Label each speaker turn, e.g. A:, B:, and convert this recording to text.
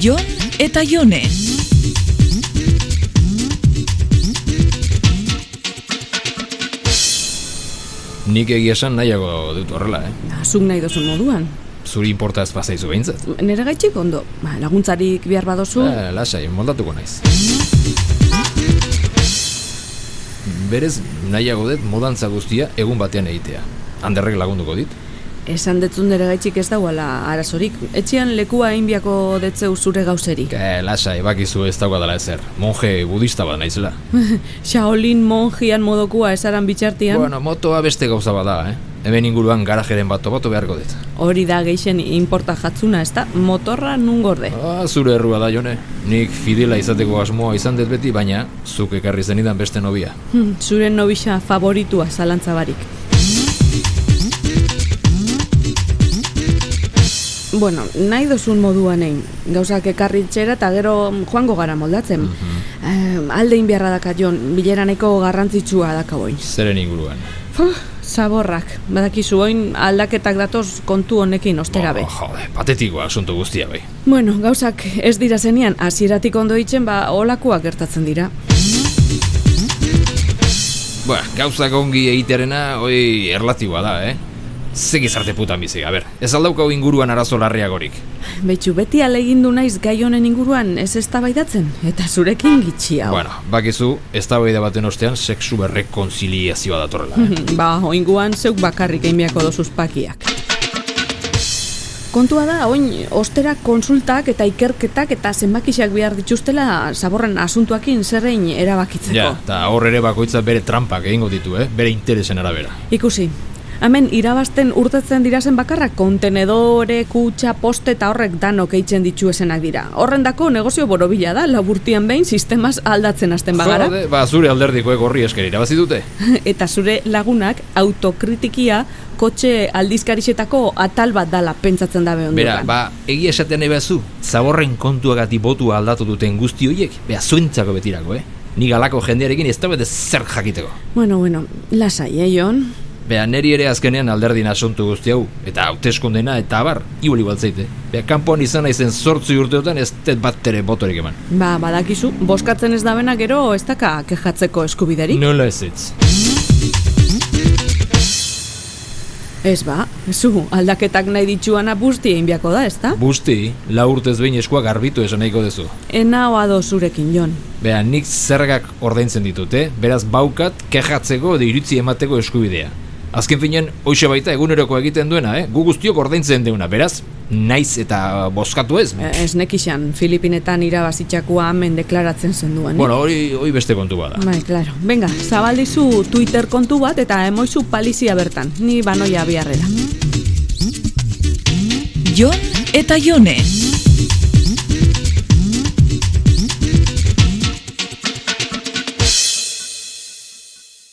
A: Jon eta Jone.
B: Nik egia esan nahiago dut horrela, eh?
C: Zuk nahi dozun moduan.
B: Zuri importa ez bazaizu behintzat.
C: Nere gaitxik ondo, ba, laguntzarik behar badozu,
B: Eh, lasai, moldatuko naiz. Berez, nahiago dut modantza guztia egun batean egitea. Handerrek lagunduko dit?
C: esan detzun nere gaitxik ez dauala arazorik. Etxean lekua inbiako detzeu zure gauzeri.
B: Eh, lasai, bakizu ez dauka dela ezer. Monje budista bat naizela.
C: Shaolin monjian modokua esaran bitxartian,
B: Bueno, motoa beste gauza bat da, eh? Hemen inguruan garajeren bat topatu beharko dut.
C: hori da geixen inporta jatzuna, ez da? Motorra nun gorde.
B: Ah, zure errua da, Jone. Nik fidela izateko asmoa izan dut beti, baina zuk ekarri zenidan beste nobia.
C: Hm, Zure nobisa favoritua zalantzabarik. Bueno, nahi dozun moduan egin. Gauzak ekarri txera eta gero joango gara moldatzen. Eh, aldein beharra dakat jon, bileraneko garrantzitsua daka boin.
B: Zeren inguruan.
C: Fuh, zaborrak, badakizu oin aldaketak datoz kontu honekin ostera be.
B: Bo, Ba, jode, patetikoa asunto guztia bai.
C: Bueno, gauzak ez dira zenian, hasieratik ondo itzen, ba, olakoak gertatzen dira.
B: Ba, gauzak ongi egitearena, hoi erlatiboa da, eh? Ze gizarte putan bizi, a ber, ez aldaukau inguruan arazo larriagorik.
C: Betxu, beti alegindu naiz gai honen inguruan ez eztabaidatzen eta zurekin gitxi hau.
B: Bueno, bakizu, ez da baten ostean sexu berrekonziliazioa datorrela. eh?
C: Ba, oinguan zeuk bakarrik egin beharko dozuz pakiak. Kontua da, oin, ostera konsultak eta ikerketak eta zenbakisak behar dituztela zaborren asuntuakin zerrein erabakitzeko.
B: ja, eta hor ere bakoitza bere trampak egingo ditu, eh? Bere interesen arabera.
C: Ikusi, hemen irabazten urtetzen dira zen bakarra kontenedore, kutxa, poste eta horrek danok eitzen ditu esenak dira. Horrendako negozio borobila da, laburtian behin sistemaz aldatzen hasten bagara.
B: Jode, ba, zure alderdikoek horri esker irabazi dute.
C: eta zure lagunak autokritikia kotxe aldizkarixetako atal bat dala pentsatzen dabe
B: Bera,
C: onduran.
B: ba, egia esaten nahi behazu, zaborren kontuagati botua aldatu duten guzti horiek, beha zuentzako betirako, eh? Ni galako jendearekin ez da bete zer jakiteko.
C: Bueno, bueno, lasai, eh, Jon?
B: Bea, neri ere azkenean alderdin asuntu guzti hau, eta hauteskundena eta abar, iboli baltzeite. Bea, kanpoan izan naizen sortzi urteotan ez tet bat ere botorik eman.
C: Ba, badakizu, boskatzen ez dabena gero ez daka kejatzeko eskubiderik?
B: Nola ez ez.
C: Ez ba, zu, aldaketak nahi dituana busti egin beharko da, ezta?
B: Busti, la urtez behin eskua garbitu esan nahiko duzu.
C: Enao ado zurekin, Jon.
B: Bea, nik zergak ordaintzen ditute, beraz baukat, kejatzeko edo iritzi emateko eskubidea. Azken finean, hoxe baita eguneroko egiten duena, eh? Gu guztiok ordaintzen deuna, beraz, naiz eta bozkatu ez.
C: Eh, Ez nekixan, Filipinetan irabazitxakua hemen deklaratzen zenduen. eh?
B: Bueno, hori, hori beste kontu bada.
C: Bai, claro. Venga, zabaldizu Twitter kontu bat eta emoizu palizia bertan. Ni banoia biharrera.
A: Jon eta Jone.